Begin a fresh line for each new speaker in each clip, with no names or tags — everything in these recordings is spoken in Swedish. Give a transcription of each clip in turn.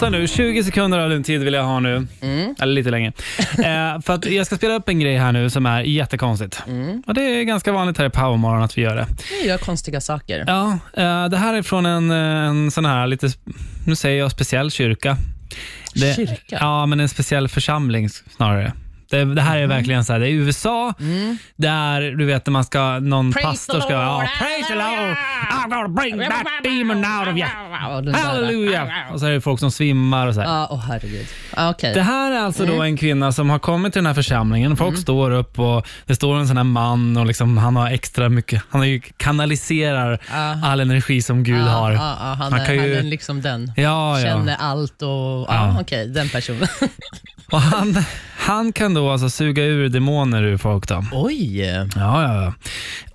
Så nu, 20 sekunder av din tid vill jag ha nu.
Mm.
Eller lite längre. Eh, för att jag ska spela upp en grej här nu som är jättekonstigt.
Mm.
Och det är ganska vanligt här i Powermorgon att vi gör det.
Ni gör konstiga saker.
Ja, eh, det här är från en, eh, en sån här lite, nu säger jag speciell kyrka. Det,
Kyrka?
Ja, men en speciell församling snarare. Det, det här är
Mm.
verkligen så här, det är USA, där du vet när man ska, någon
Praise
pastor
the
ska, ja,
Lord,
praise the Lord,
hallelujah.
I'm gonna bring that demon out of you.
Och den där.
Halleluja! Och så är det folk som svimmar och så här.
Ja, åh herregud. Ja, Okej.
Det här är alltså då en kvinna som har kommit till den här församlingen.
Mm.
Folk står upp och det står en sån här man och liksom, han har extra mycket, han har ju kanaliserar all energi som Gud
Ja,
har.
ja, ja, han,
Han
är,
kan ju-
han är liksom den.
Ja, ja.
Känner allt och... Ja,
Ja.
Okej, den personen.
Och han, han kan då alltså suga ur demoner ur folk då.
Oj!
Ja, ja, ja.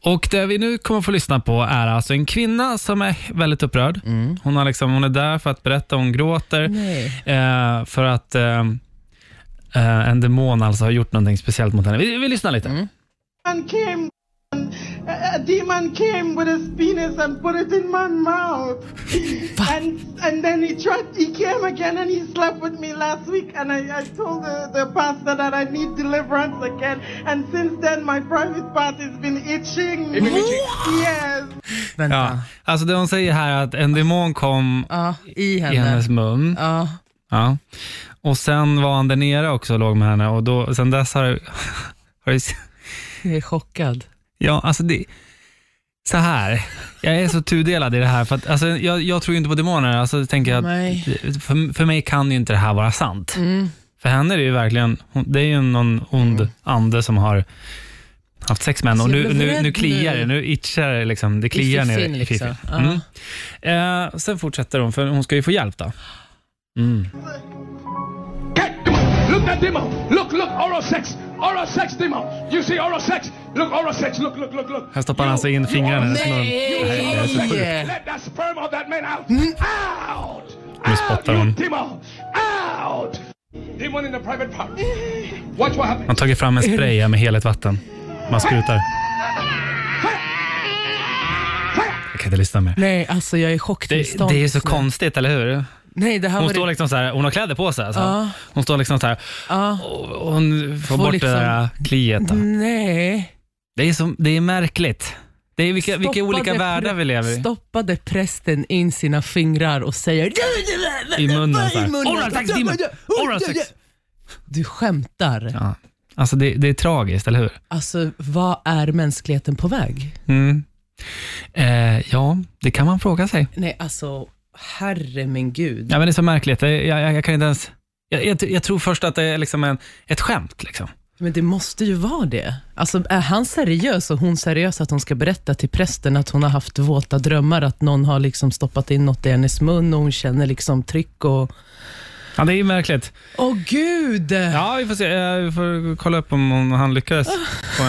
Och det vi nu kommer få lyssna på är alltså en kvinna som är väldigt upprörd.
Mm.
Hon, har liksom, hon är där för att berätta, hon gråter.
Nej.
Eh, för att eh, eh, en demon alltså har gjort någonting speciellt mot henne. Vi, vi lyssnar
Mm.
lite.
man came a demon came with his penis and put it in my mouth and and then he tried he came again and he slept with me last week and i, I told the, the pastor that i need deliverance again and since then my private part has been itching yes
Vänta.
Ja. Alltså det hon säger här är att en demon kom
Ja, i
i
henne.
hennes mun.
Ja.
Ja. Och sen var han där nere också och låg med henne och då, sen dess har, har det-
Jag är chockad.
Ja, alltså det... Så här, jag är så tudelad i det här. För att, alltså, jag, jag tror ju inte på demoner. Alltså, jag tänker att,
Nej. Mm.
för, för mig kan ju inte det här vara sant. För henne är det ju verkligen, hon- det är ju någon ond ande som har haft sex med henne. Och
Så jag
nu,
blev
nu,
rädd
nu kliar
nu.
det, nu itchar det liksom. Det kliar ner
fiffin
i
liksom.
fiffin.
Ja.
Mm. Eh, sen fortsätter hon, för hon ska ju få hjälp då.
Get, come on, look that demon. Look, look, oral sex. Oral sex demon. You see oral sex? Look, oral sex. Look, look, look, look.
Här stoppar han
You-
alltså in
you
fingrarna i
oral
hennes
sex.
mun. Nej, det är så sjukt.
Yeah.
Let that sperm of that man out. Out.
Nu
Out,
spottar
you
hon.
demon. Out. Demon in the private part. Watch what happens.
Han tagit fram en spray här med heligt vatten. Man sprutar. Jag kan inte lyssna mer.
Nej, alltså jag är i
Det,
chocktillstånd.
det är så
just nu.
konstigt, eller hur?
Nej, det här
Hon
var
står
det...
liksom så här, hon har kläder på sig. Så Hon står liksom så här och och hon får
Får
bort
liksom- Mm.
det där kliet. då.
Nej.
Det, är så, det är märkligt. Det är vilka, vilka olika
Stoppade
världar vi
prä-
lever i.
Stoppade prästen in sina fingrar och säger
I munnen så
I
här.
munnen.
Oral sex, demon! Oral sex!
Du skämtar.
Ja. Alltså det, det är tragiskt, eller hur?
Alltså, vad är mänskligheten på väg?
Mm. Eh, ja, det kan man fråga sig.
Nej, alltså, herre min gud.
Ja, men det är så märkligt. Det- Jag, jag, jag kan inte ens... Jag, jag, jag tror först att det är liksom en, ett skämt. Liksom.
Men det måste ju vara det. Alltså, är han seriös och hon seriös att hon ska berätta till prästen att hon har haft våta drömmar, att någon har liksom stoppat in något i hennes mun och hon känner liksom tryck och...
Ja, det är ju märkligt.
Åh gud!
Ja, vi får se. Eh, Vi får kolla upp om hon- han lyckades.